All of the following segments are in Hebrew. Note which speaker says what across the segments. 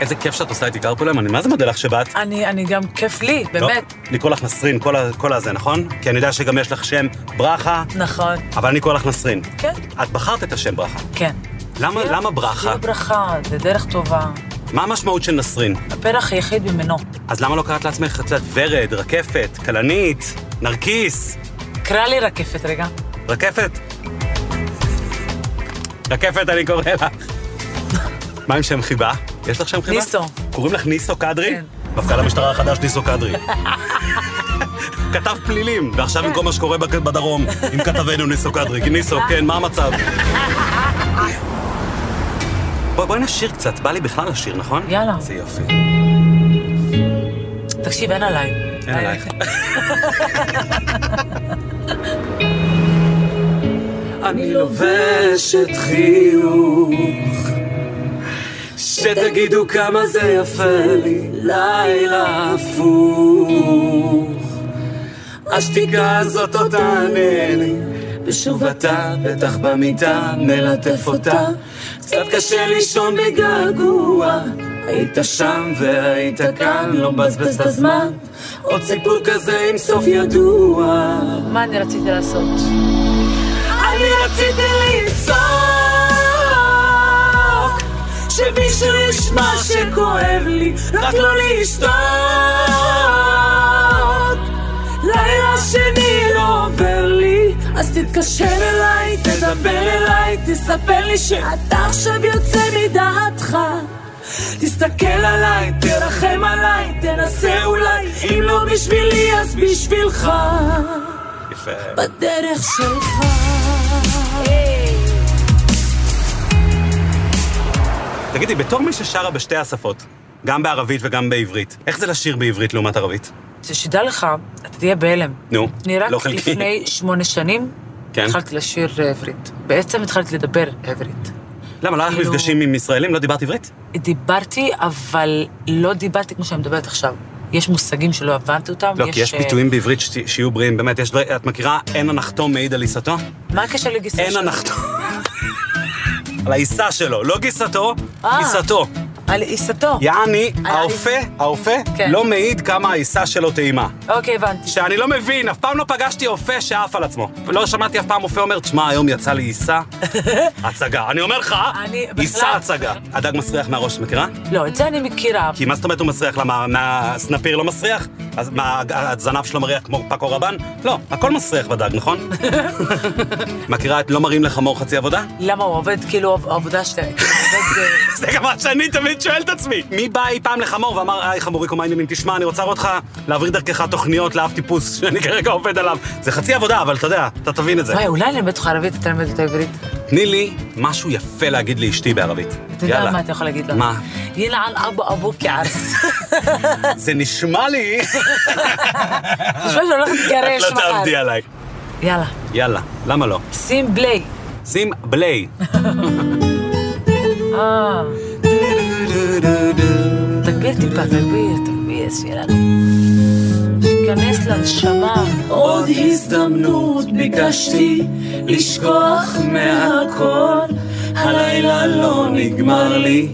Speaker 1: איזה כיף שאת עושה איתי קרפוליים, אני מה זה מודה לך שבאת?
Speaker 2: אני, אני גם כיף לי, באמת.
Speaker 1: לא, אני קורא לך נסרין, כל, ה- כל הזה, נכון? כי אני יודע שגם יש לך שם ברכה,
Speaker 2: נכון.
Speaker 1: אבל אני קורא לך נסרין.
Speaker 2: כן,
Speaker 1: את בחרת את השם ברכה.
Speaker 2: כן.
Speaker 1: למה,
Speaker 2: כן,
Speaker 1: למה ברכה?
Speaker 2: זה ברכה, זה דרך טובה.
Speaker 1: מה המשמעות של נסרין?
Speaker 2: הפרח היחיד ממנו.
Speaker 1: אז למה לא קראת לעצמך, את יודעת, ורד, רקפת, כלנית, נרקיס,
Speaker 2: קרא לי רקפת רגע.
Speaker 1: רקפת? רקפת, אני קורא לך. מה עם שם חיבה? יש לך שם חיבה?
Speaker 2: ניסו.
Speaker 1: קוראים לך ניסו קדרי?
Speaker 2: כן.
Speaker 1: מפכ"ל המשטרה החדש ניסו קדרי. כתב פלילים, ועכשיו עם כל מה שקורה בק- בדרום, עם כתבנו ניסו קדרי. כי ניסו,
Speaker 2: אה.
Speaker 1: כן, מה המצב? בוא- בואי נשיר קצת, בא לי בכלל לשיר, נכון?
Speaker 2: יאללה.
Speaker 1: זה יופי.
Speaker 2: תקשיב, אין עליי.
Speaker 1: אין עלייך. אני לובשת חיוך, שתגידו כמה זה יפה לי, לילה הפוך. השתיקה הזאת עוד תענה לי, ושוב אתה, בטח במיטה, מלטף אותה. קצת קשה לישון בגעגוע, היית שם והיית כאן, לא מבזבז את הזמן. עוד סיפור כזה עם סוף ידוע.
Speaker 2: מה אני רציתי לעשות?
Speaker 1: אני רציתי לצעוק שמישהו ישמע שכואב לי רק לא לשתוק לילה שני לא עובר לי
Speaker 2: אז תתקשר אליי, תדבר אליי, תספר לי שאתה עכשיו יוצא מדעתך. תסתכל עליי, תרחם עליי, תנסה אולי, אם לא בשבילי אז בשבילך,
Speaker 1: יפה
Speaker 2: בדרך שלך.
Speaker 1: תגידי, בתור מי ששרה בשתי השפות גם בערבית וגם בעברית איך זה לשיר בעברית לעומת ערבית?
Speaker 2: זה שתדע לך, אתה תהיה בהלם.
Speaker 1: נו,
Speaker 2: אני רק
Speaker 1: לא חלקי.
Speaker 2: לפני שמונה שנים
Speaker 1: כן.
Speaker 2: התחלתי לשיר עברית. בעצם התחלתי לדבר עברית.
Speaker 1: למה, לא היה לך
Speaker 2: כאילו-
Speaker 1: מפגשים עם ישראלים? לא דיברת עברית?
Speaker 2: דיברתי, אבל לא דיברתי כמו שאני מדברת עכשיו. יש מושגים שלא הבנתי אותם.
Speaker 1: לא, כי יש
Speaker 2: אה,
Speaker 1: ביטויים בעברית שת- שיהיו בריאים, באמת, יש דברים, את מכירה אין הנחתום מעיד על עיסתו?
Speaker 2: מה הקשר לגיסה
Speaker 1: אין
Speaker 2: שלו?
Speaker 1: הנחתום. על העיסה שלו, לא גיסתו,
Speaker 2: אה.
Speaker 1: גיסתו.
Speaker 2: על עיסתו.
Speaker 1: יעני,
Speaker 2: על
Speaker 1: האופה, האופה,
Speaker 2: כן.
Speaker 1: לא מעיד כמה העיסה שלו טעימה.
Speaker 2: אוקיי, הבנתי.
Speaker 1: שאני לא מבין, אף פעם לא פגשתי אופה שעף על עצמו. לא שמעתי אף פעם אופה אומר, תשמע, היום יצא לי עיסה, הצגה. אני אומר לך,
Speaker 2: אני בכלל-
Speaker 1: עיסה הצגה. הדג מסריח מהראש, את מכירה?
Speaker 2: לא, את זה אני מכירה.
Speaker 1: כי מה זאת אומרת הוא מסריח? למה מהסנפיר לא מסריח? אז מה, הזנב שלו מריח כמו פאקו רבן? לא, הכל מסריח בדג, נכון? מכירה את לא מראים לחמור חצי עבודה?
Speaker 2: למה הוא עובד כאילו עב- עבודה שאתה... כאילו, עובד, אה,
Speaker 1: זה גם מה שאני תמיד שואל את עצמי. מי בא אי פעם לחמור ואמר, היי חמוריקו, מה העניינים? תשמע, אני רוצה לראות אותך להעביר דרכך תוכניות לאב טיפוס שאני כרגע עובד עליו. זה חצי עבודה, אבל אתה יודע, אתה תבין את זה.
Speaker 2: וואי, אולי אני אלמד אותך ערבית, אתה לומד אותה עברית.
Speaker 1: תני לי משהו יפה להגיד לאשתי בערבית.
Speaker 2: אתה יודע מה אתה יכול להגיד לה?
Speaker 1: מה?
Speaker 2: ילען אבו אבו כערס. אה.
Speaker 1: זה נשמע לי,
Speaker 2: תשמע שאני הולכת
Speaker 1: את
Speaker 2: להתגרש
Speaker 1: לא תעמדי
Speaker 2: מחר.
Speaker 1: עליי.
Speaker 2: יאללה,
Speaker 1: יאללה, למה לא?
Speaker 2: שים בליי.
Speaker 1: שים בליי.
Speaker 2: אה, תגביר טיפה, תגביר, תגביר, שיהיה לנו. שייכנס לנשמה.
Speaker 3: עוד הזדמנות ביקשתי לשכוח מהכל הלילה לא נגמר לי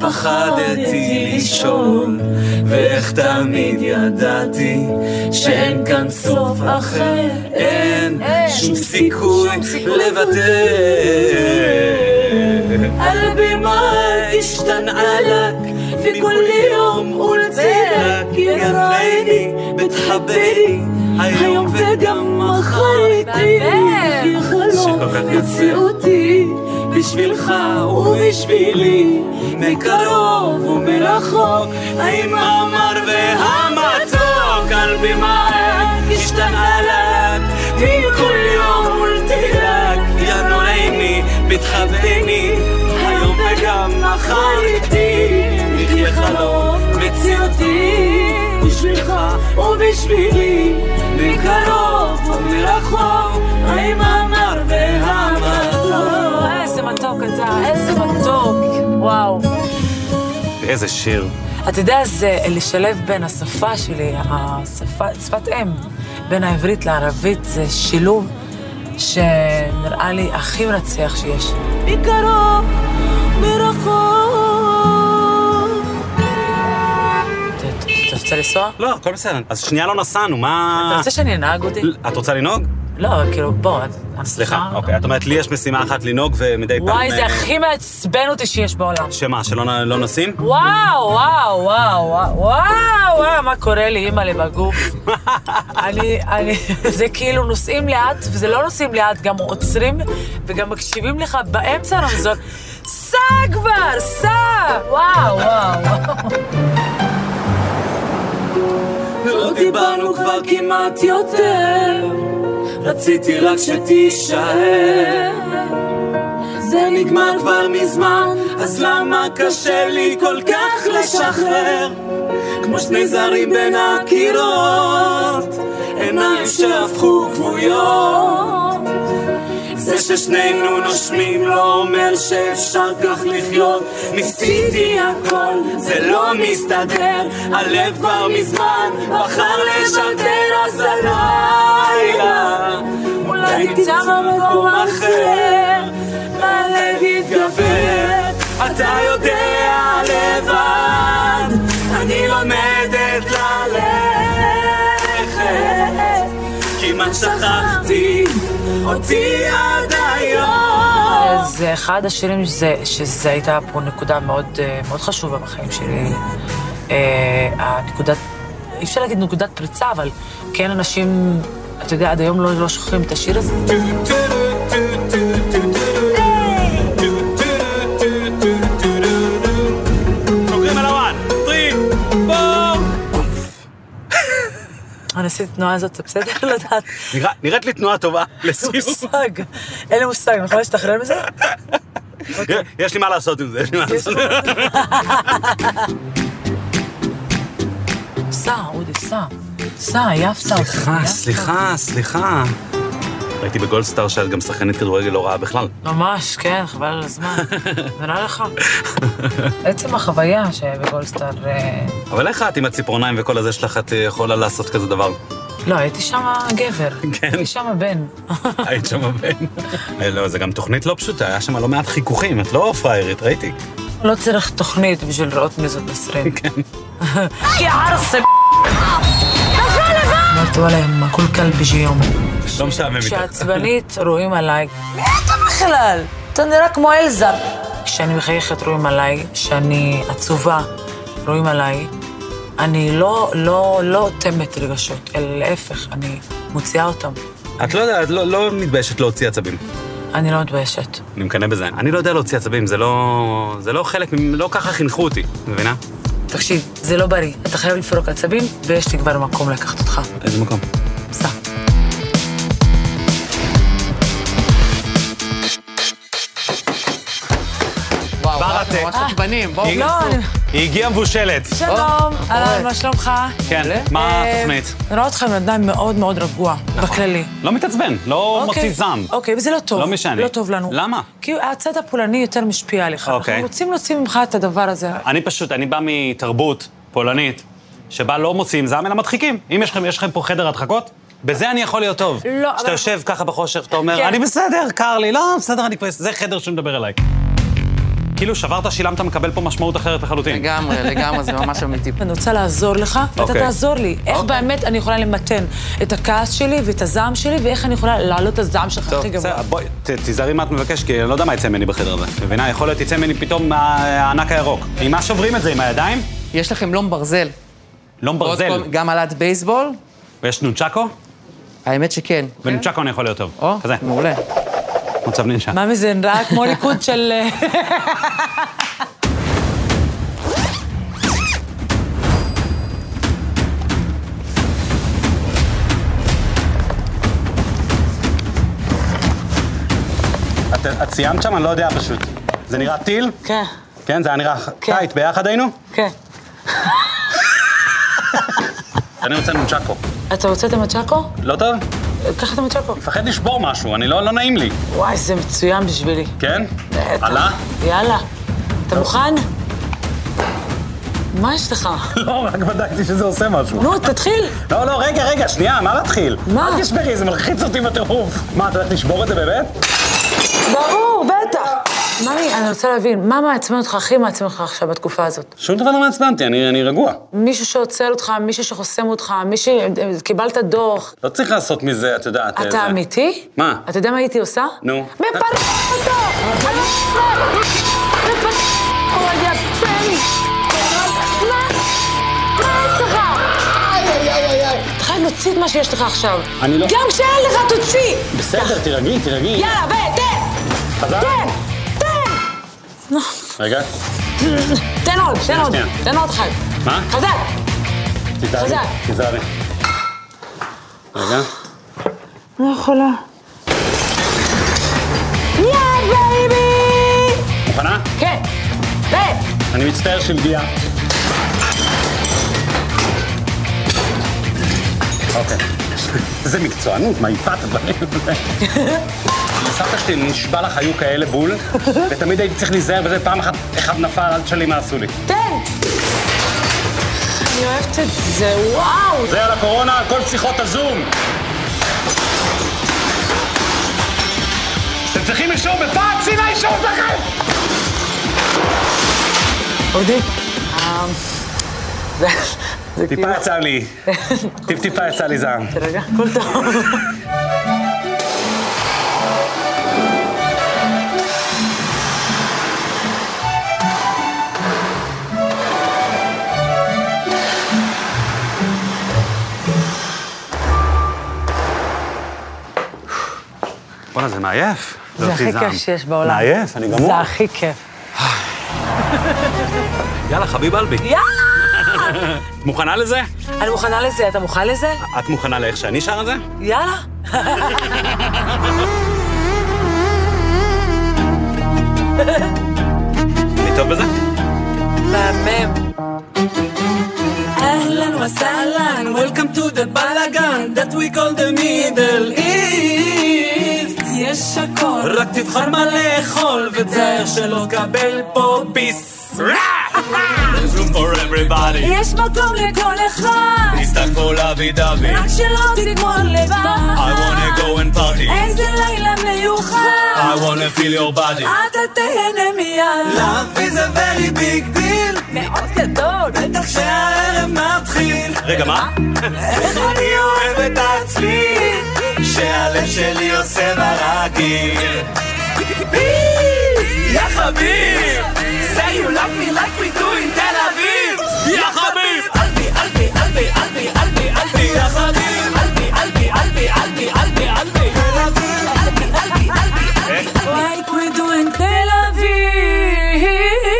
Speaker 3: פחדתי לשאול ואיך תמיד ידעתי שאין כאן סוף אחר אין שום סיכוי לוותר
Speaker 2: البما
Speaker 3: השתנעה לך וכל יום
Speaker 2: قلت
Speaker 3: רק יד עיני ותחברי היום וגם מחר איתי
Speaker 2: באמת?
Speaker 3: חלום
Speaker 1: שכל כך יפה.
Speaker 3: מציאותי בשבילך ובשבילי מקרוב ומרחוק האם המר והמתוק על במה השתנעה לך וכל יום מולתי רק יד עיני ותחברי היום וגם מחר איתי נחיה חלום מציאותי בשבילך ובשבילי מקרוב ומרחוק האם המר והמתוק
Speaker 2: איזה מתוק אתה, איזה מתוק. וואו.
Speaker 1: איזה שיר.
Speaker 2: אתה יודע, זה לשלב בין השפה שלי, השפה, שפת אם, בין העברית לערבית, זה שילוב שנראה לי הכי מנצח שיש.
Speaker 3: מקרוב מרחוק
Speaker 2: לנסוע?
Speaker 1: לא, הכל בסדר. אז שנייה לא נסענו, מה...
Speaker 2: אתה רוצה שאני אנהג אותי?
Speaker 1: את רוצה לנהוג?
Speaker 2: לא, כאילו, בוא, את-
Speaker 1: אה. סליחה,
Speaker 2: אה,
Speaker 1: אוקיי. את אומרת, לי יש משימה אחת לנהוג ומדי פעם...
Speaker 2: וואי, זה
Speaker 1: אה,
Speaker 2: הכי מעצבן אותי שיש בעולם.
Speaker 1: שמה, שלא נ- לא נשים?
Speaker 2: וואו, וואו, וואו, וואו, וואו, וואו, מה קורה לי, אימא לי בגוף. אני, אני, זה כאילו נוסעים לאט, וזה לא נוסעים לאט, גם עוצרים וגם מקשיבים לך באמצע הרמזון. סע כבר, סע! וואו, וואו, וואו.
Speaker 4: לא דיברנו כבר כמעט יותר, רציתי רק שתישאר. זה נגמר כבר מזמן, אז למה קשה לי כל כך לשחרר? כמו שני זרים בין הקירות, עיניים שהפכו כבויות. זה ששנינו נושמים לא אומר שאפשר כך לחיות ניסיתי הכל, זה לא מסתדר הלב כבר מזמן בחר לשדר אז הלילה אולי תמצא במקום אחר הלב יתגבר אתה יודע לבד אני לומדת
Speaker 2: אה,
Speaker 4: ללכת כמעט שכחתי אותי עד היום.
Speaker 2: זה אחד השירים שזה, שזה הייתה פה נקודה מאוד, אה, מאוד חשובה בחיים שלי. אה, הנקודת, אי אפשר להגיד נקודת פריצה, אבל כן אנשים, אתה יודע, עד היום לא, לא שוכחים את השיר הזה.
Speaker 1: סוגרים על הוואן, טרי, פור.
Speaker 2: אני עשיתי את התנועה הזאת, זה בסדר? לא יודעת.
Speaker 1: נראה- נראית לי תנועה טובה
Speaker 2: אין לי
Speaker 1: לסיום.
Speaker 2: מושג. אין לי מושג, אני יכולה להשתחרר מזה?
Speaker 1: יש לי מה לעשות עם זה, יש לי מה לעשות.
Speaker 2: סע, אודי, סע. סע, יף סע.
Speaker 1: סליחה, אה, סליחה, סליחה. ראיתי בגולדסטאר שאת גם שחקנית כדורגל לא רעה בכלל.
Speaker 2: ממש, כן, חבל על הזמן. נראה לך. עצם החוויה שבגולדסטאר... אה,
Speaker 1: אבל איך את עם הציפורניים וכל הזה שלך, את אה, יכולה לעשות כזה דבר?
Speaker 2: לא, הייתי שם גבר.
Speaker 1: כן.
Speaker 2: הייתי שם בן.
Speaker 1: היית שם הבן. אה, לא, זו גם תוכנית לא פשוטה, היה שם לא מעט חיכוכים, את לא פריירית, ראיתי.
Speaker 2: לא צריך תוכנית בשביל לראות מי זאת נסרין. כן. כי ערסה, אמרתי וואלה, מה כל כלבי ג'יום.
Speaker 1: לא משעמם איתך.
Speaker 2: כשעצבנית רואים עליי, מי אתה בכלל? אתה נראה כמו אלזה. כשאני מחייכת רואים עליי, כשאני עצובה רואים עליי. אני לא, לא, לא אוטמת רגשות, אלא להפך, אני מוציאה אותם.
Speaker 1: את לא יודעת, לא- לא מתביישת להוציא עצבים.
Speaker 2: אני לא מתביישת.
Speaker 1: אני מקנא בזה. אני לא יודע להוציא עצבים, זה לא... זה לא חלק, מ- לא ככה חינכו אותי, מבינה?
Speaker 2: תקשיב, זה לא בריא. אתה חייב לפרוק עצבים, ויש לי כבר מקום לקחת אותך.
Speaker 1: איזה מקום.
Speaker 2: סע.
Speaker 5: וואו,
Speaker 1: כבר
Speaker 5: וואו,
Speaker 1: אתם.
Speaker 5: ממש עצבנים, בואו.
Speaker 2: לא, אני-
Speaker 1: היא הגיעה מבושלת.
Speaker 2: שלום,
Speaker 5: אוהב.
Speaker 2: אהלן, מה שלומך?
Speaker 1: אה, כן,
Speaker 2: אה,
Speaker 1: מה התוכנית?
Speaker 2: אני רואה אותך בן אדם מאוד מאוד רגוע, בכללי.
Speaker 1: לא מתעצבן, לא
Speaker 2: אוקיי,
Speaker 1: מוציא זעם.
Speaker 2: אוקיי, וזה לא טוב.
Speaker 1: לא משנה.
Speaker 2: לא טוב לנו.
Speaker 1: למה?
Speaker 2: כי הצד הפולני יותר משפיע עליך.
Speaker 1: אוקיי.
Speaker 2: אנחנו רוצים להוציא ממך את הדבר הזה.
Speaker 1: אני פשוט, אני בא מתרבות פולנית, שבה לא מוציאים זעם, אלא מדחיקים. אם יש לכם, יש לכם פה חדר הדחקות, בזה אני יכול להיות טוב.
Speaker 2: לא, אבל-
Speaker 1: כשאתה יושב ככה בחושך, אתה אומר,
Speaker 2: כן.
Speaker 1: אני בסדר, קר לי, לא, בסדר, אני כבר... זה חדר שמדבר אליי. כאילו, שברת, שילמת, מקבל פה משמעות אחרת לחלוטין.
Speaker 5: לגמרי, לגמרי, זה ממש אמיתי.
Speaker 2: אני רוצה לעזור לך, ואתה
Speaker 1: אוקיי.
Speaker 2: תעזור לי. איך באמת אני יכולה למתן את הכעס שלי ואת הזעם שלי, ואיך אני יכולה להעלות את הזעם שלך
Speaker 1: טוב,
Speaker 2: הכי גבוה.
Speaker 1: בסדר, בואי, ת- תיזהרי מה את מבקשת, כי אני לא יודע מה יצא ממני בחדר הזה. מבינה? יכול להיות יצא ממני פתאום הענק הירוק. עם מה שוברים את זה? עם הידיים?
Speaker 5: יש לכם לום ברזל.
Speaker 1: לום
Speaker 5: ועוד
Speaker 1: ברזל.
Speaker 5: כל- גם עלת בייסבול?
Speaker 1: ויש נונצ'קו?
Speaker 2: כן.
Speaker 5: האמת שכן.
Speaker 1: ונונצ'קו אני יכול להיות טוב.
Speaker 5: או,
Speaker 1: כזה,
Speaker 5: מעולה.
Speaker 1: מצב נינג'ה.
Speaker 2: מה מזה, נראה כמו ריקוד של... אה,
Speaker 1: את את סיימת שם? אני לא יודע פשוט. זה נראה טיל?
Speaker 2: כן,
Speaker 1: כן, זה היה נראה
Speaker 2: כן.
Speaker 1: טייט, ביחד היינו?
Speaker 2: כן.
Speaker 1: אני רוצה נונצ'קו.
Speaker 2: אתה רוצה את המצ'קו?
Speaker 1: לא טוב?
Speaker 2: קח את המצ'קו.
Speaker 1: מפחד לשבור משהו, אני לא, לא נעים לי.
Speaker 2: וואי, זה מצוין בשבילי.
Speaker 1: כן?
Speaker 2: בטח.
Speaker 1: עלה?
Speaker 2: יאללה. אתה מוכן? מה יש לך?
Speaker 1: לא, רק בדקתי שזה עושה משהו.
Speaker 2: נו, תתחיל.
Speaker 1: לא, לא, רגע, רגע, שנייה, מה להתחיל?
Speaker 2: מה?
Speaker 1: אל תשברי, זה מלחיץ אותי בטירוף. מה, את הולכת לשבור את זה באמת?
Speaker 2: ברור, בטח. מאמי, אני רוצה להבין, מה מעצבן אותך הכי מעצבן אותך עכשיו בתקופה הזאת?
Speaker 1: שום דבר לא מעצבנתי, אני, אני רגוע.
Speaker 2: מישהו שעוצר אותך, מישהו שחוסם אותך, מישהו... קיבלת דוח.
Speaker 1: לא צריך לעשות מזה, את יודעת...
Speaker 2: אתה
Speaker 1: זה-
Speaker 2: אמיתי?
Speaker 1: מה?
Speaker 2: אתה יודע מה הייתי עושה?
Speaker 1: נו.
Speaker 2: מפרק אותו! אני לא מפרק אותו, יא בני! מה? מה יש לך? איי, איי, איי, איי, איי. אתה חייב להוציא את מה שיש לך עכשיו.
Speaker 1: אני לא-
Speaker 2: גם כשאין לך, תוציא!
Speaker 1: בסדר, תירגעי, תירגעי.
Speaker 2: יאללה, ותן!
Speaker 1: חזק.
Speaker 2: תן! תן!
Speaker 1: רגע,
Speaker 2: תן עוד, תן עוד,
Speaker 1: שנייה.
Speaker 2: תן עוד אחד.
Speaker 1: מה?
Speaker 2: חזק!
Speaker 1: תיזהרי.
Speaker 2: חזק.
Speaker 1: תיזהרי. רגע.
Speaker 2: לא יכולה. יאללה, בייבי!
Speaker 1: מוכנה?
Speaker 2: כן. ו...
Speaker 1: אני מצטער שלגיה. אוקיי. זה מקצוענות, מה יפעת הדברים הזה? לסבתא שלי נשבע לך היו כאלה בול, ותמיד הייתי צריך להיזהר וזה, פעם אחת אחד נפל, אל תשאלי מה עשו לי.
Speaker 2: תן! אני אוהבת את זה, וואו!
Speaker 1: זה על הקורונה, על כל שיחות הזום! אתם צריכים אישור בפעם שינה אישור שלכם!
Speaker 2: אודי? אה, זה... זה כאילו-
Speaker 1: טיפה יצא לי, טיפ טיפה יצא לי זעם.
Speaker 2: תרגע, הכל טוב.
Speaker 1: בואנה, זה מעייף.
Speaker 2: זה הכי כיף שיש בעולם.
Speaker 1: מעייף, אני גמור.
Speaker 2: זה הכי כיף.
Speaker 1: יאללה, חביב אלבי.
Speaker 2: יאללה!
Speaker 1: את מוכנה לזה?
Speaker 2: אני מוכנה לזה, אתה מוכן לזה?
Speaker 1: את מוכנה לאיך שאני שר את זה?
Speaker 2: יאללה.
Speaker 1: אני טוב בזה?
Speaker 2: מהמם.
Speaker 6: אהלן וסהלן, Welcome to the בלאגן, that we call the middle east. יש הכל, רק תבחר מה לאכול, ותזהר שלא תקבל פה ביס.
Speaker 7: There's room for everybody.
Speaker 6: יש מקום לכל אחד,
Speaker 7: תסתכלו לוי דווי.
Speaker 6: רק שלא תגמור לבד.
Speaker 7: I wanna go and party.
Speaker 6: איזה לילה
Speaker 7: I
Speaker 6: מיוחד,
Speaker 7: wanna feel your body.
Speaker 6: אתה תהנה מיד.
Speaker 7: Love is a very big deal.
Speaker 2: מאוד גדול.
Speaker 7: בטח שהערב מתחיל. רגע, מה? איך אני אוהב את עצמי, שהלב שלי עושה ברגיל. יא חביב!
Speaker 6: Say you love me like we do in Tel Aviv.
Speaker 7: יא חביב!
Speaker 6: قلبي قلبي قلبي قلبي قلبي قلبي يا خبير قلبي قلبي قلبي قلبي قلبي قلبي قلبي قلبي قلبي قلبي Like we do in Tel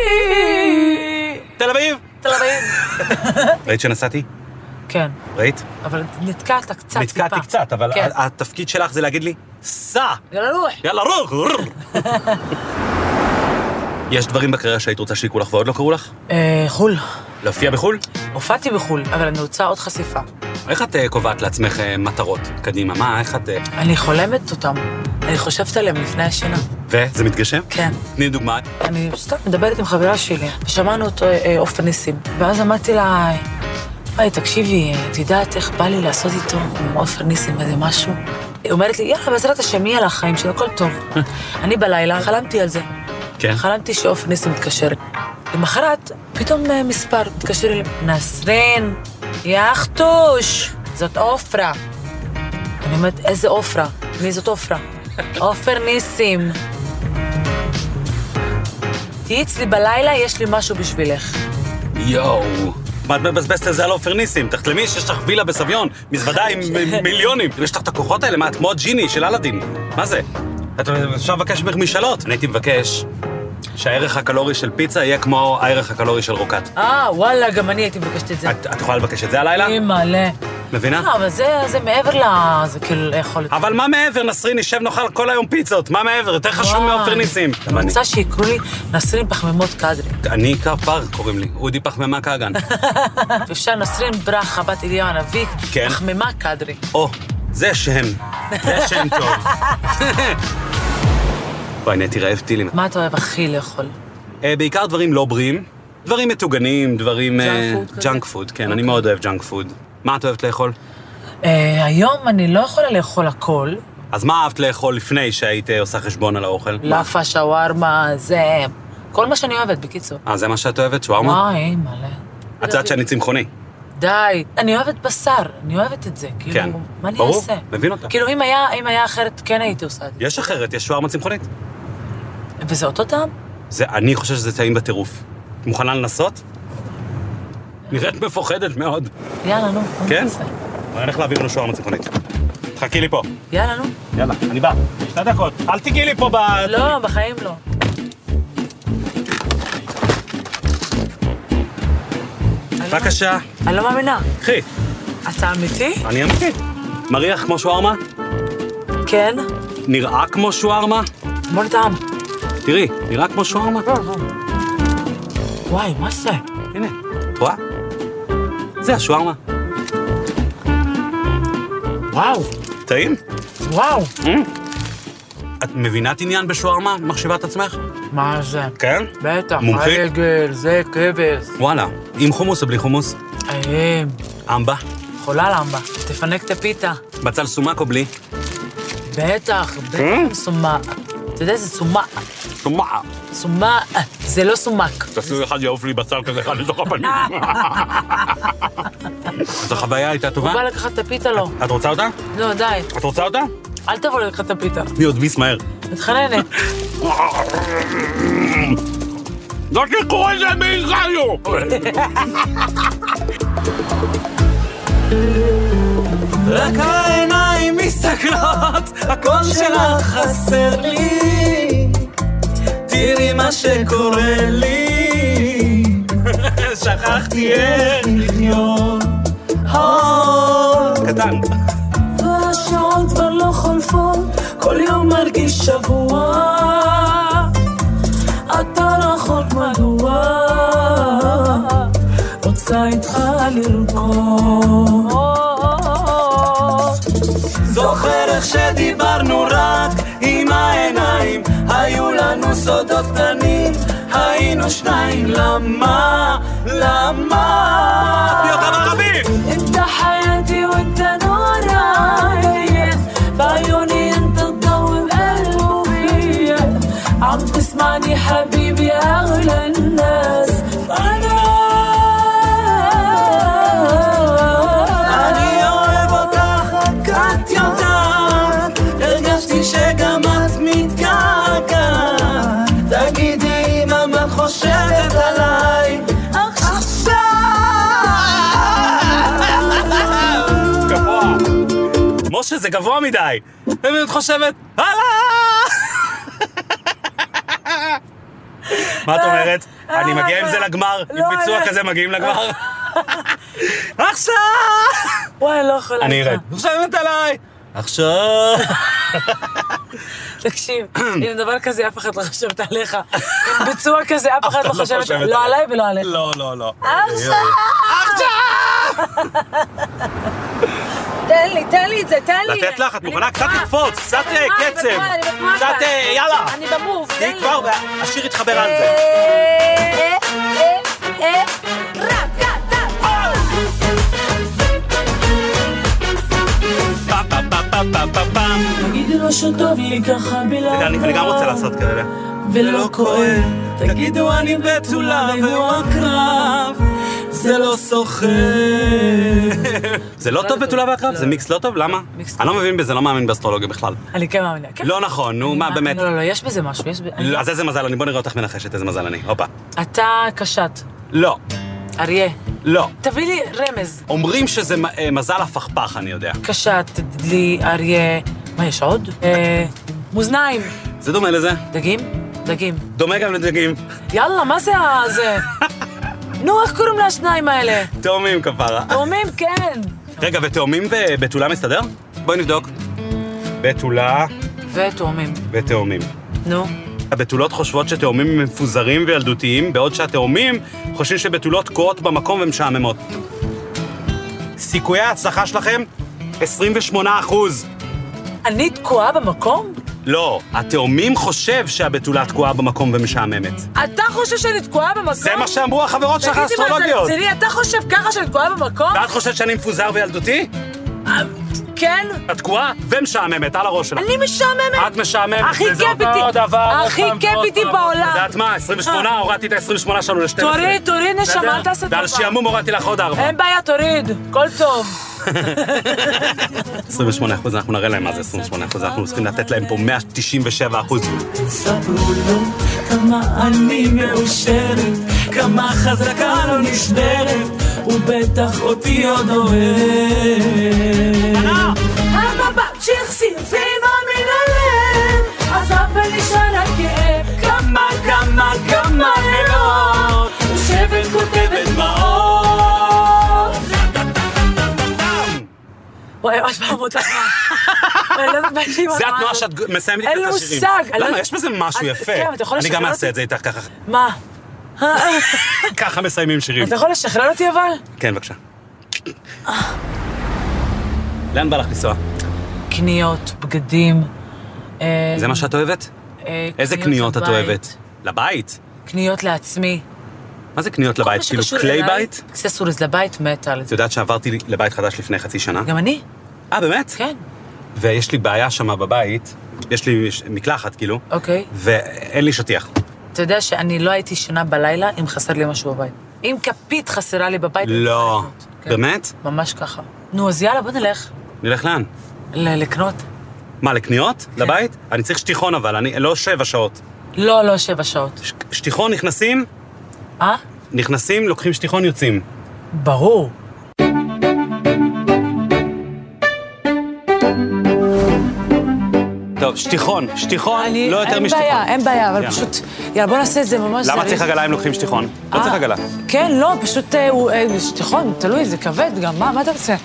Speaker 6: Aviv.
Speaker 1: תל אביב!
Speaker 2: תל אביב.
Speaker 1: ראית שנסעתי?
Speaker 2: כן,
Speaker 1: ראית?
Speaker 2: אבל נתקעת קצת,
Speaker 1: נתקעתי
Speaker 2: טיפה.
Speaker 1: קצת, אבל
Speaker 2: כן.
Speaker 1: ה- התפקיד שלך זה להגיד לי, סע!
Speaker 2: יאללה, לוח.
Speaker 1: יאללה, רוח! רוח." יש דברים בקריירה שהיית רוצה שיקרו לך ועוד לא קרו לך?
Speaker 2: אה, חו"ל.
Speaker 1: להופיע בחו"ל?
Speaker 2: הופעתי בחו"ל, אבל אני רוצה עוד חשיפה.
Speaker 1: איך את אה, קובעת לעצמך אה, מטרות? קדימה, מה, איך את... אה,
Speaker 2: אני חולמת אותם. אני חושבת עליהם לפני השינה.
Speaker 1: וזה מתגשם?
Speaker 2: כן.
Speaker 1: תני דוגמה.
Speaker 2: אני סתם מדברת עם חברה שלי, ושמענו אותו אה, אה, עופר ניסים. ואז אמרתי לה, היי, תקשיבי, אה, את יודעת איך בא לי לעשות איתו, עם עופר ניסים איזה משהו? היא אומרת לי, יאללה, בעזרת השם, יהיה לך חיים שלו, הכל טוב. אני בלילה חלמתי על זה.
Speaker 1: כן.
Speaker 2: חלמתי שעופר ניסים מתקשר. למחרת, פתאום אה, מספר, מתקשר אליי, נסרין, יאכטוש, זאת עופרה. אני אומרת, איזה עופרה? מי זאת עופרה? עופר ניסים. תהיי אצלי בלילה, יש לי משהו בשבילך.
Speaker 1: יואו. מה את מבזבזת את זה על עופר ניסים? תחתלמי שיש לך וילה בסביון, מזוודה עם מ- מיליונים. יש לך את הכוחות האלה, מה, את כמו הג'יני של אלאדין. מה זה? את אפשר לבקש ממך משאלות. אני הייתי מבקש שהערך הקלורי של פיצה יהיה כמו הערך הקלורי של רוקט.
Speaker 2: אה, וואלה, גם אני הייתי מבקשת את זה.
Speaker 1: את את יכולה לבקש את זה הלילה?
Speaker 2: אימא'לה.
Speaker 1: מבינה?
Speaker 2: אה, לא, אבל זה זה מעבר ל... זה כאילו יכול להיות.
Speaker 1: אבל מה מעבר, נסרין, נשב נאכל כל היום פיצות, מה מעבר? יותר חשוב
Speaker 2: וואי.
Speaker 1: מעופר ניסים.
Speaker 2: אני רוצה שיקראו לי נסרין פחמימות קדרי.
Speaker 1: אני עיקר פארק קוראים לי, אודי פחמימה קאגן.
Speaker 2: אפשר נסרין ברכה בת אליהו הנביא,
Speaker 1: כן.
Speaker 2: פחמימה קדרי.
Speaker 1: או, זה שם. זה שם טוב. וואי, נהייתי רעב טילים.
Speaker 2: מה אתה אוהב הכי לאכול?
Speaker 1: אה, בעיקר דברים לא בריאים, דברים מטוגנים, דברים... אה,
Speaker 2: ג'אנק פוד כזה?
Speaker 1: ג'אנק פוד, כן, אני מאוד אוהב ג'אנק פוד. מה את אוהבת לאכול?
Speaker 2: אה, היום אני לא יכולה לאכול הכל.
Speaker 1: אז מה אהבת לאכול לפני שהיית אה, עושה חשבון על האוכל?
Speaker 2: לאפה, שווארמה, זה... כל מה שאני אוהבת, בקיצור.
Speaker 1: אה, זה מה שאת אוהבת? שווארמה?
Speaker 2: וואי, מלא.
Speaker 1: את יודעת שאני צמחוני.
Speaker 2: די. אני אוהבת בשר, אני אוהבת את זה. כאילו,
Speaker 1: כן.
Speaker 2: מה אני
Speaker 1: ברור,
Speaker 2: אעשה?
Speaker 1: מבין אותך.
Speaker 2: כאילו, אם היה, אם היה אחרת, כן הייתי עושה את זה.
Speaker 1: יש אחרת, יש שווארמה צמחונית.
Speaker 2: וזה אותו טעם?
Speaker 1: זה, אני חושב שזה טעים בטירוף. את מוכנה לנסות? נראית מפוחדת מאוד.
Speaker 2: יאללה, נו. בוא
Speaker 1: כן?
Speaker 2: נעשה.
Speaker 1: אני הולך להעביר לו שווארמה צמחונית. תחכי לי פה.
Speaker 2: יאללה, נו.
Speaker 1: יאללה, אני בא. שתי דקות. אל תיגעי לי פה ב...
Speaker 2: לא, בחיים לא.
Speaker 1: בבקשה.
Speaker 2: אני לא מאמינה.
Speaker 1: קחי,
Speaker 2: אתה אמיתי?
Speaker 1: אני אמיתי. מריח כמו שווארמה?
Speaker 2: כן.
Speaker 1: נראה כמו שווארמה?
Speaker 2: בוא נטעם.
Speaker 1: תראי, נראה כמו שווארמה?
Speaker 2: וואי, מה זה?
Speaker 1: הנה, את רואה? זה השווארמה.
Speaker 2: וואו,
Speaker 1: טעים?
Speaker 2: וואו.
Speaker 1: את מבינת עניין בשווארמה? מחשיבה את עצמך?
Speaker 2: מה זה?
Speaker 1: כן.
Speaker 2: בטח,
Speaker 1: מומחית?
Speaker 2: רגל, זה כבש.
Speaker 1: וואלה, עם חומוס או בלי חומוס?
Speaker 2: איי,
Speaker 1: אמבה?
Speaker 2: חולה למבה. תפנק את הפיתה.
Speaker 1: בצל סומק או בלי?
Speaker 2: בטח, בטח,
Speaker 8: אה?
Speaker 2: סומא. אתה יודע, זה סומא.
Speaker 1: סומק.
Speaker 2: סומא, זה לא סומק.
Speaker 1: תעשו אחד יעוף לי בצל כזה אחד לתוך הפנים. אז החוויה הייתה
Speaker 2: הוא
Speaker 1: טובה?
Speaker 2: בא לקחת את הפיתה לו.
Speaker 1: את רוצה אותה?
Speaker 2: לא, די,
Speaker 1: את רוצה אותה?
Speaker 2: אל תבוא לקחת את הפיתה.
Speaker 1: אני עוד ביס מהר.
Speaker 2: מתחננת.
Speaker 1: זאת לקרוא את זה באיזריו!
Speaker 8: רק העיניים מסתכלות, הקול שלך חסר לי. תראי מה שקורה לי, שכחתי איך לחיות.
Speaker 1: קטן.
Speaker 9: והשעות כבר לא חולפות, כל יום מרגיש שבוע. אתה רחוק מדוע, רוצה איתך לרקוד.
Speaker 8: זוכר איך שדיברנו רק עם העיניים, היו לנו סודות קטנים, היינו שניים, למה? למה?
Speaker 9: انت حياتي وانت نوراي بعيوني انت تضوي بقلبي عم تسمعني حبيبي اغلى الناس انا
Speaker 8: אני אוהב אותך, רק את יודעת, הרגשתי שגם את מתגעגעת. תגידי אמא, מה את חושבת עליי עכשיו?
Speaker 1: גבוה. משה, זה גבוה מדי. את חושבת, הלאה! מה את אומרת? אני מגיע עם זה לגמר? עם
Speaker 2: לא,
Speaker 1: ביצוע
Speaker 2: לא.
Speaker 1: כזה מגיעים לגמר? עכשיו!
Speaker 2: וואי, לא יכולה.
Speaker 1: אני
Speaker 2: איתך.
Speaker 1: ארד. חושבת עליי! עכשיו!
Speaker 2: תקשיב, עם דבר כזה אף אחד לא חושבת עליך. עם ביצוע כזה אף אחד לא חושבת, לא עליי ולא עליך.
Speaker 1: לא, לא, לא.
Speaker 10: תן לי, תן לי את זה, תן לי.
Speaker 1: לתת לך, את
Speaker 10: אני
Speaker 1: מוכנה? קצת
Speaker 10: בטוחה.
Speaker 1: לקפוץ, קצת אה,
Speaker 10: אני בטוחה,
Speaker 1: קצב.
Speaker 10: אני בטוחה
Speaker 1: קצת,
Speaker 10: כאן.
Speaker 1: אה, יאללה.
Speaker 10: אני במוב, תן
Speaker 1: תהיי
Speaker 10: לי.
Speaker 1: כבר, והשיר יתחבר על זה.
Speaker 10: כן. אה, אה, אה, רק, רק, רק.
Speaker 1: פעם, פעם, פעם, פעם, פעם, פעם, פעם.
Speaker 9: תגידי לו שטוב לי ככה בלעדיו
Speaker 1: אה. אני אני גם רוצה לעשות כאלה.
Speaker 8: זה לא כואב, תגידו אני בתולה והוא עקרב, זה לא סוחר.
Speaker 1: זה לא טוב בתולה והקרב? זה מיקס לא טוב? למה?
Speaker 2: מיקס
Speaker 1: אני לא מבין בזה, לא מאמין באסטרולוגיה בכלל.
Speaker 2: אני כן מאמינה. כן.
Speaker 1: לא נכון, נו, מה באמת?
Speaker 2: לא, לא, לא, יש בזה משהו, יש בזה...
Speaker 1: לא, אז איזה מזל אני, בוא נראה אותך מנחשת איזה מזל אני. הופה.
Speaker 2: אתה קשת,
Speaker 1: לא,
Speaker 2: אריה.
Speaker 1: לא.
Speaker 2: תביא לי רמז.
Speaker 1: אומרים שזה מ- אה, מזל הפכפך, אני יודע.
Speaker 2: קשת, דלי, אריה. מה, יש עוד? אה, מאזניים.
Speaker 1: זה דומה לזה?
Speaker 2: דגים? דגים.
Speaker 1: דומה גם לדגים.
Speaker 2: יאללה, מה זה ה... זה? נו, איך קוראים לשניים האלה?
Speaker 1: תאומים כפרה.
Speaker 2: תאומים, כן.
Speaker 1: רגע, ותאומים ובתולה מסתדר? בואי נבדוק. בתולה
Speaker 2: ותאומים.
Speaker 1: ותאומים.
Speaker 2: נו.
Speaker 1: הבתולות חושבות שתאומים הם מפוזרים וילדותיים, בעוד שהתאומים חושבים שבתולות קועות במקום ומשעממות. סיכויי ההצלחה שלכם, 28 אחוז.
Speaker 2: אני תקועה במקום?
Speaker 1: לא, התאומים חושב שהבתולה תקועה במקום ומשעממת.
Speaker 2: אתה חושב שאני תקועה במקום?
Speaker 1: זה מה שאמרו החברות שלך
Speaker 2: תגיד לי, מה, אתה
Speaker 1: האסטרולוגיות.
Speaker 2: רציני? אתה חושב ככה שאני תקועה במקום?
Speaker 1: ואת חושבת שאני מפוזר וילדותי?
Speaker 2: כן, כן?
Speaker 1: את תקועה ומשעממת, על הראש שלך.
Speaker 2: אני משעממת.
Speaker 1: את משעממת,
Speaker 2: הכי
Speaker 1: וזה
Speaker 2: כיף
Speaker 1: אותו
Speaker 2: איתי.
Speaker 1: דבר, עוד
Speaker 2: הכי
Speaker 1: פעם
Speaker 2: כיף
Speaker 1: ועוד
Speaker 2: איתי
Speaker 1: פעם.
Speaker 2: בעולם. אה.
Speaker 1: יודעת מה, 28, הורדתי את ה-28 שלנו ל-12.
Speaker 2: תוריד, תוריד, נשמה, אל תעשה
Speaker 1: ועל
Speaker 2: טובה.
Speaker 1: שעמום הורדתי לך עוד 4.
Speaker 2: אין בעיה, תוריד, הכל טוב.
Speaker 1: 28 אחוז, אנחנו נראה להם מה זה 28 אחוז, אנחנו צריכים לתת להם פה 197 אחוז.
Speaker 11: ספרו לו כמה אני מאושרת, כמה חזקה לא נשברת, הוא בטח אותי עוד אוהב. אה, המבט שהחסיר פינו מן הלב, עזב ונשאר הכאב, כמה כמה כמה לילות, יושבת כותבת דמעות.
Speaker 2: וואי, ממש פעמות עצמה. אני לא יודעת מה יש לי עם
Speaker 1: זה
Speaker 2: התנועה
Speaker 1: התנועה
Speaker 2: הזאת.
Speaker 1: שאת מסיימת איתה
Speaker 2: אין
Speaker 1: את
Speaker 2: לי
Speaker 1: השירים.
Speaker 2: מושג, אני לא
Speaker 1: למה?
Speaker 2: יודעת-
Speaker 1: יש בזה משהו
Speaker 2: את-
Speaker 1: יפה.
Speaker 2: כן, אתה יכול
Speaker 1: אני
Speaker 2: לשחרר
Speaker 1: גם אעשה
Speaker 2: אותי?
Speaker 1: את זה איתך ככה.
Speaker 2: מה?
Speaker 1: ככה מסיימים שירים.
Speaker 2: אתה יכול לשחרר אותי אבל?
Speaker 1: כן, בבקשה. לאן בא לך לנסוע?
Speaker 2: קניות, בגדים. אה,
Speaker 1: זה מה שאת אוהבת?
Speaker 2: אה,
Speaker 1: איזה קניות את
Speaker 2: לבית,
Speaker 1: אוהבת? לבית.
Speaker 2: קניות לעצמי.
Speaker 1: מה זה קניות
Speaker 2: כל
Speaker 1: לבית?
Speaker 2: מה
Speaker 1: כאילו
Speaker 2: שקשור
Speaker 1: כלי
Speaker 2: אליי,
Speaker 1: בית?
Speaker 2: אקססוריז לבית, מתה על
Speaker 1: את
Speaker 2: זה.
Speaker 1: יודעת שעברתי לבית חדש לפני חצי שנה?
Speaker 2: גם אני?
Speaker 1: אה, באמת?
Speaker 2: כן.
Speaker 1: ויש לי בעיה שמה בבית, יש לי ש- מקלחת, כאילו,
Speaker 2: אוקיי.
Speaker 1: ואין לי שטיח.
Speaker 2: אתה יודע שאני לא הייתי שנה בלילה אם חסר לי משהו בבית. אם כפית חסרה לי בבית... אני
Speaker 1: לא.
Speaker 2: צריכה לקנות. כן.
Speaker 1: באמת?
Speaker 2: ממש ככה. נו, אז יאללה, בוא נלך
Speaker 1: נלך לאן?
Speaker 2: ל- לקנות.
Speaker 1: מה, לקניות?
Speaker 2: כן.
Speaker 1: לבית? אני צריך שטיחון אבל, אני לא שבע שעות.
Speaker 2: לא, לא שבע שעות.
Speaker 1: ש- שטיחון נכנסים,
Speaker 2: אה?
Speaker 1: נכנסים, לוקחים שטיחון, יוצאים.
Speaker 2: ברור.
Speaker 1: טוב, שטיחון, שטיחון,
Speaker 2: אני-
Speaker 1: לא יותר
Speaker 2: אין
Speaker 1: משטיחון.
Speaker 2: בעיה, אין בעיה, אבל
Speaker 1: יאללה.
Speaker 2: פשוט... יאללה, בוא נעשה את זה ממש...
Speaker 1: למה
Speaker 2: זריז.
Speaker 1: צריך עגלה אם לוקחים שטיחון? לא
Speaker 2: אה,
Speaker 1: צריך עגלה.
Speaker 2: כן, לא, פשוט אה, הוא... אה, שטיחון, תלוי, זה כבד גם, מה מה אתה רוצה?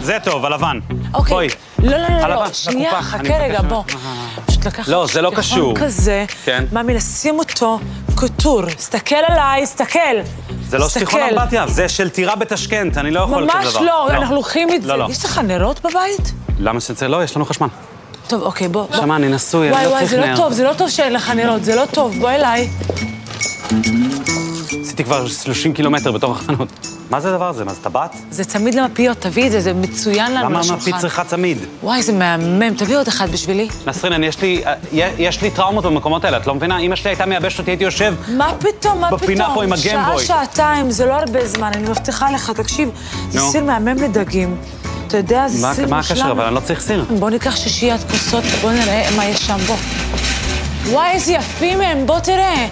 Speaker 1: זה טוב, הלבן.
Speaker 2: אוקיי.
Speaker 1: בואי.
Speaker 2: לא, לא, לא,
Speaker 1: הלבן,
Speaker 2: לא, שנייה,
Speaker 1: לקופה, אני
Speaker 2: חכה
Speaker 1: מבקש.
Speaker 2: רגע, בוא. פשוט לקחת
Speaker 1: לא, זה לא
Speaker 2: שטיחון
Speaker 1: קשור.
Speaker 2: כזה,
Speaker 1: כן.
Speaker 2: מאמי, לשים אותו קוטור. סתכל עליי, סתכל.
Speaker 1: זה לא שטיחון
Speaker 2: סתכל.
Speaker 1: אמבטיה, זה של טירה בתשכנת, אני לא יכול כזה
Speaker 2: ממש
Speaker 1: דבר.
Speaker 2: לא, אנחנו לוקחים את זה.
Speaker 1: לא, לא.
Speaker 2: יש לך נרות בבית?
Speaker 1: למה שזה לא? יש לנו חשמל.
Speaker 2: טוב, אוקיי, בוא. בוא.
Speaker 1: שמע, אני נשוי, אני
Speaker 2: וואי,
Speaker 1: לא
Speaker 2: וואי,
Speaker 1: צריך
Speaker 2: זה לא
Speaker 1: נר.
Speaker 2: טוב, זה לא טוב שאין לך נרות, זה לא טוב, בוא אליי.
Speaker 1: עשיתי כבר 30 קילומטר בתוך החנות. מה זה הדבר הזה? מה, זה טבעת?
Speaker 2: זה צמיד למפיות, תביא את זה, זה מצוין לנו
Speaker 1: למה
Speaker 2: לשולחן.
Speaker 1: המפית צריכה צמיד?
Speaker 2: וואי, זה מהמם, תביא עוד אחד בשבילי.
Speaker 1: נסרינן, יש לי, אה, יש לי טראומות במקומות האלה, את לא מבינה? אמא שלי הייתה מייבשת אותי, הייתי יושב...
Speaker 2: מה פתאום, מה פתאום?
Speaker 1: בפינה פה עם הגיימבוי.
Speaker 2: שעה, שעתיים, זה לא הרבה זמן, אני מבטיחה לך, תקשיב, זה
Speaker 1: נו.
Speaker 2: סיר מהמם לדגים. אתה יודע, זה
Speaker 1: מה-
Speaker 2: סיר
Speaker 1: מה
Speaker 2: מושלם.
Speaker 1: הקשר? אבל אני לא צריך סיר.
Speaker 2: בוא ניקח שישיית כוסות, בוא נראה מה יש שם, בוא. וואי, איזה יפים הם, בוא תראה.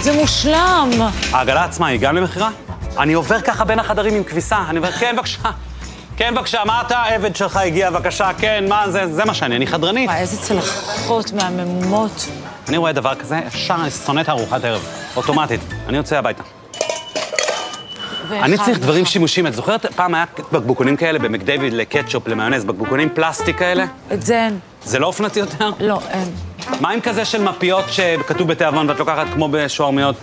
Speaker 2: זה מושלם.
Speaker 1: העגלה עצמה היא גם למכירה? אני עובר ככה בין החדרים עם כביסה, אני אומר, כן, בבקשה. כן, בבקשה, מה אתה, העבד שלך הגיע, בבקשה, כן, מה זה, זה מה שאני, אני חדרנית.
Speaker 2: וואי, איזה צלחות מהממות.
Speaker 1: אני רואה דבר כזה, ישר אני שונא את הארוחת ערב, אוטומטית. אני יוצא הביתה. אני
Speaker 2: ואחד
Speaker 1: צריך דברים
Speaker 2: לך.
Speaker 1: שימושיים. את זוכרת, פעם היה בקבוקונים כאלה במקדיוויד לקטשופ, למיונז, בקבוקונים פלסטיק כאלה?
Speaker 2: את זה אין.
Speaker 1: זה לא אופנתי יותר?
Speaker 2: לא, אין.
Speaker 1: מה עם כזה של מפיות שכתוב בתיאבון ואת לוקחת כמו בשוערמיות?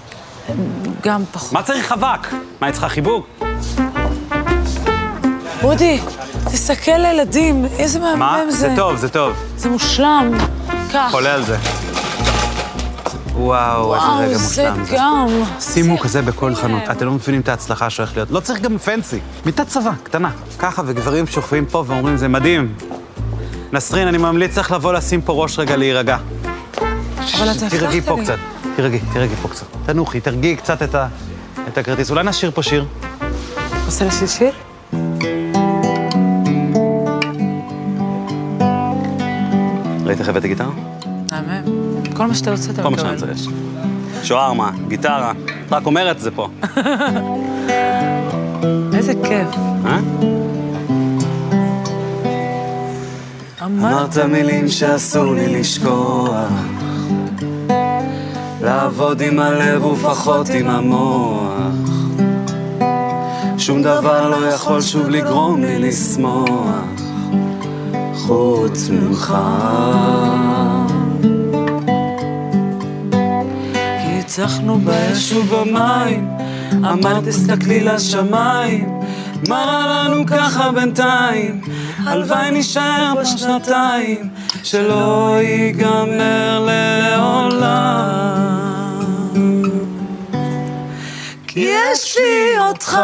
Speaker 2: גם פחות.
Speaker 1: מה צריך חבק? מה, היא צריכה חיבוק?
Speaker 2: אודי, תסתכל לילדים, איזה
Speaker 1: מה?
Speaker 2: מהמם זה.
Speaker 1: זה טוב, זה טוב.
Speaker 2: זה מושלם. קח.
Speaker 1: חולה על זה. וואו, איזה
Speaker 2: וואו,
Speaker 1: רגע
Speaker 2: אה, זה
Speaker 1: מושלם זה.
Speaker 2: גם.
Speaker 1: שימו כזה בכל חנות,
Speaker 2: כן.
Speaker 1: אתם לא מבינים את ההצלחה שהולכת להיות. לא צריך גם פנסי, מיטת צבא, קטנה. ככה, וגברים שוכבים פה ואומרים, זה מדהים. נסרין, אני ממליץ לך לבוא לשים פה ראש רגע להירגע.
Speaker 2: אבל אתה
Speaker 1: תירגעי
Speaker 2: הבטחת
Speaker 1: פה
Speaker 2: לי.
Speaker 1: קצת, תירגעי, תירגעי פה קצת. תנוחי, תרגיעי קצת את ה- את הכרטיס. אולי נשאיר פה שיר?
Speaker 2: רוצה לשיר שיר?
Speaker 1: ראית איך הבאתי גיטרה?
Speaker 2: מהמם. כל מה שאתה רוצה אתה
Speaker 1: כל מה שאני
Speaker 2: מקבל.
Speaker 1: צריך. שוארמה, גיטרה, את רק אומרת את זה פה.
Speaker 2: איזה כיף.
Speaker 1: אה?
Speaker 12: אמרת
Speaker 2: אמרת,
Speaker 12: מילים שאסור לי לשכוח לעבוד עם הלב ופחות עם המוח שום דבר לא יכול שוב לגרום לי לשמוח חוץ ממך
Speaker 2: כי הצלחנו באש.
Speaker 12: באש ובמים אמרת תסתכלי לשמיים מה רע לנו ככה בינתיים הלוואי נישאר פה שנתיים שלא ייגמר לעולם כי יש לי אותך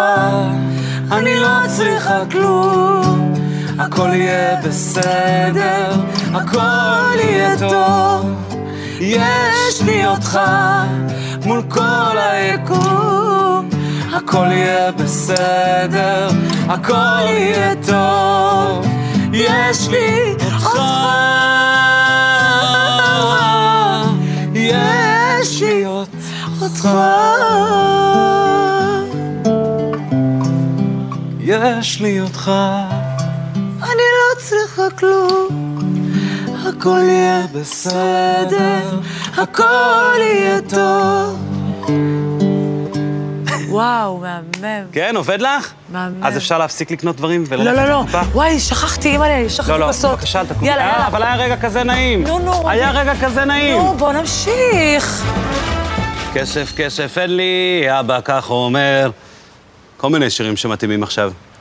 Speaker 1: אני לא צריכה כלום, הכל יהיה בסדר, הכל יהיה טוב, יש לי אותך מול כל היקום, הכל יהיה בסדר, הכל יהיה טוב, יש לי אותך, יש לי אותך. יש לי אותך. אני לא צריכה כלום, הכל יהיה בסדר, הכל יהיה טוב.
Speaker 2: וואו, מהמם.
Speaker 13: כן, עובד לך?
Speaker 2: מהמם.
Speaker 13: אז אפשר להפסיק לקנות דברים
Speaker 2: לא,
Speaker 13: וללכת
Speaker 2: לא, לא.
Speaker 13: לקופה?
Speaker 2: וואי, שכחתי, אימא'לה, שכחתי
Speaker 13: לא, לא,
Speaker 2: בסוף.
Speaker 13: בבקשה, אל תקום.
Speaker 2: יאללה,
Speaker 13: אה,
Speaker 2: יאללה.
Speaker 13: אבל היה רגע כזה נעים.
Speaker 2: נו, נו.
Speaker 13: היה רגע כזה נעים.
Speaker 2: נו, בוא נמשיך.
Speaker 13: כסף, כסף, אין לי, אבא כך אומר. כל מיני שירים שמתאימים עכשיו.